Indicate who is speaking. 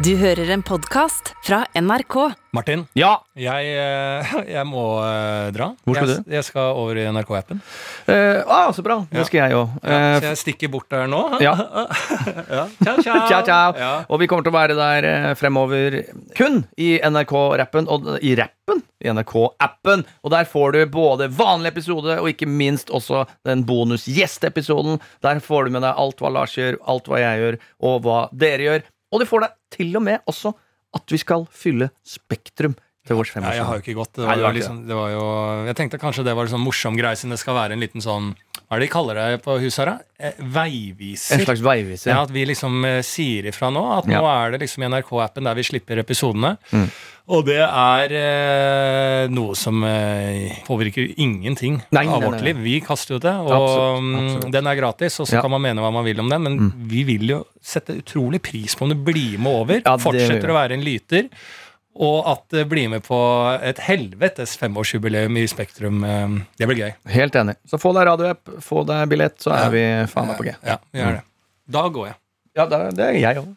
Speaker 1: Du hører en podkast fra NRK.
Speaker 2: Martin,
Speaker 3: Ja!
Speaker 2: jeg, eh, jeg må eh, dra.
Speaker 3: Hvor skal
Speaker 2: jeg, jeg skal over i NRK-appen.
Speaker 3: Eh, ah, så bra.
Speaker 2: Ja.
Speaker 3: Det skal jeg òg.
Speaker 2: Så jeg stikker bort der nå.
Speaker 3: Eh, ja.
Speaker 2: Ja. Ciao, ciao.
Speaker 3: Ciao, ciao.
Speaker 2: Ja.
Speaker 3: Og vi kommer til å være der eh, fremover kun i NRK-rappen. Og i rappen? I NRK-appen. Og der får du både vanlig episode og ikke minst også den bonusgjestepisoden. Der får du med deg alt hva Lars gjør, alt hva jeg gjør, og hva dere gjør. Og du får deg til og med også at vi skal fylle Spektrum til vårs
Speaker 2: Nei, jeg har
Speaker 3: femårsdag.
Speaker 2: jo ikke gått. Det var,
Speaker 3: Nei, det
Speaker 2: jo
Speaker 3: var ikke
Speaker 2: liksom, det var jo, jeg tenkte kanskje det var liksom morsom greie, siden det skal være en liten sånn Hva er det de kaller det på huset her, da? Eh, Veiviser.
Speaker 3: En slags veiviser.
Speaker 2: Ja, at vi liksom eh, sier ifra nå at nå er det liksom i NRK-appen der vi slipper episodene.
Speaker 3: Mm.
Speaker 2: Og det er eh, noe som eh, påvirker ingenting
Speaker 3: Nei, nei,
Speaker 2: av
Speaker 3: nei,
Speaker 2: vårt
Speaker 3: nei.
Speaker 2: liv. Vi kaster jo det, og
Speaker 3: Absolutt,
Speaker 2: mm,
Speaker 3: absolutt.
Speaker 2: den er gratis, og så
Speaker 3: Ja. Mm.
Speaker 2: kan man mene hva man vil om den, men vi vil jo sette utrolig pris på om du blir med over,
Speaker 3: Ja, det gjør vi.
Speaker 2: fortsetter å være en lyter. Og at det blir med på et helvetes femårsjubileum i Spektrum. eh, Det blir gøy.
Speaker 3: Helt enig. Så få deg radioapp, få deg billett, så er vi faen meg på G. Mm.
Speaker 2: Ja, vi gjør det. Da går jeg.
Speaker 3: Ja, det er- det er jeg òg.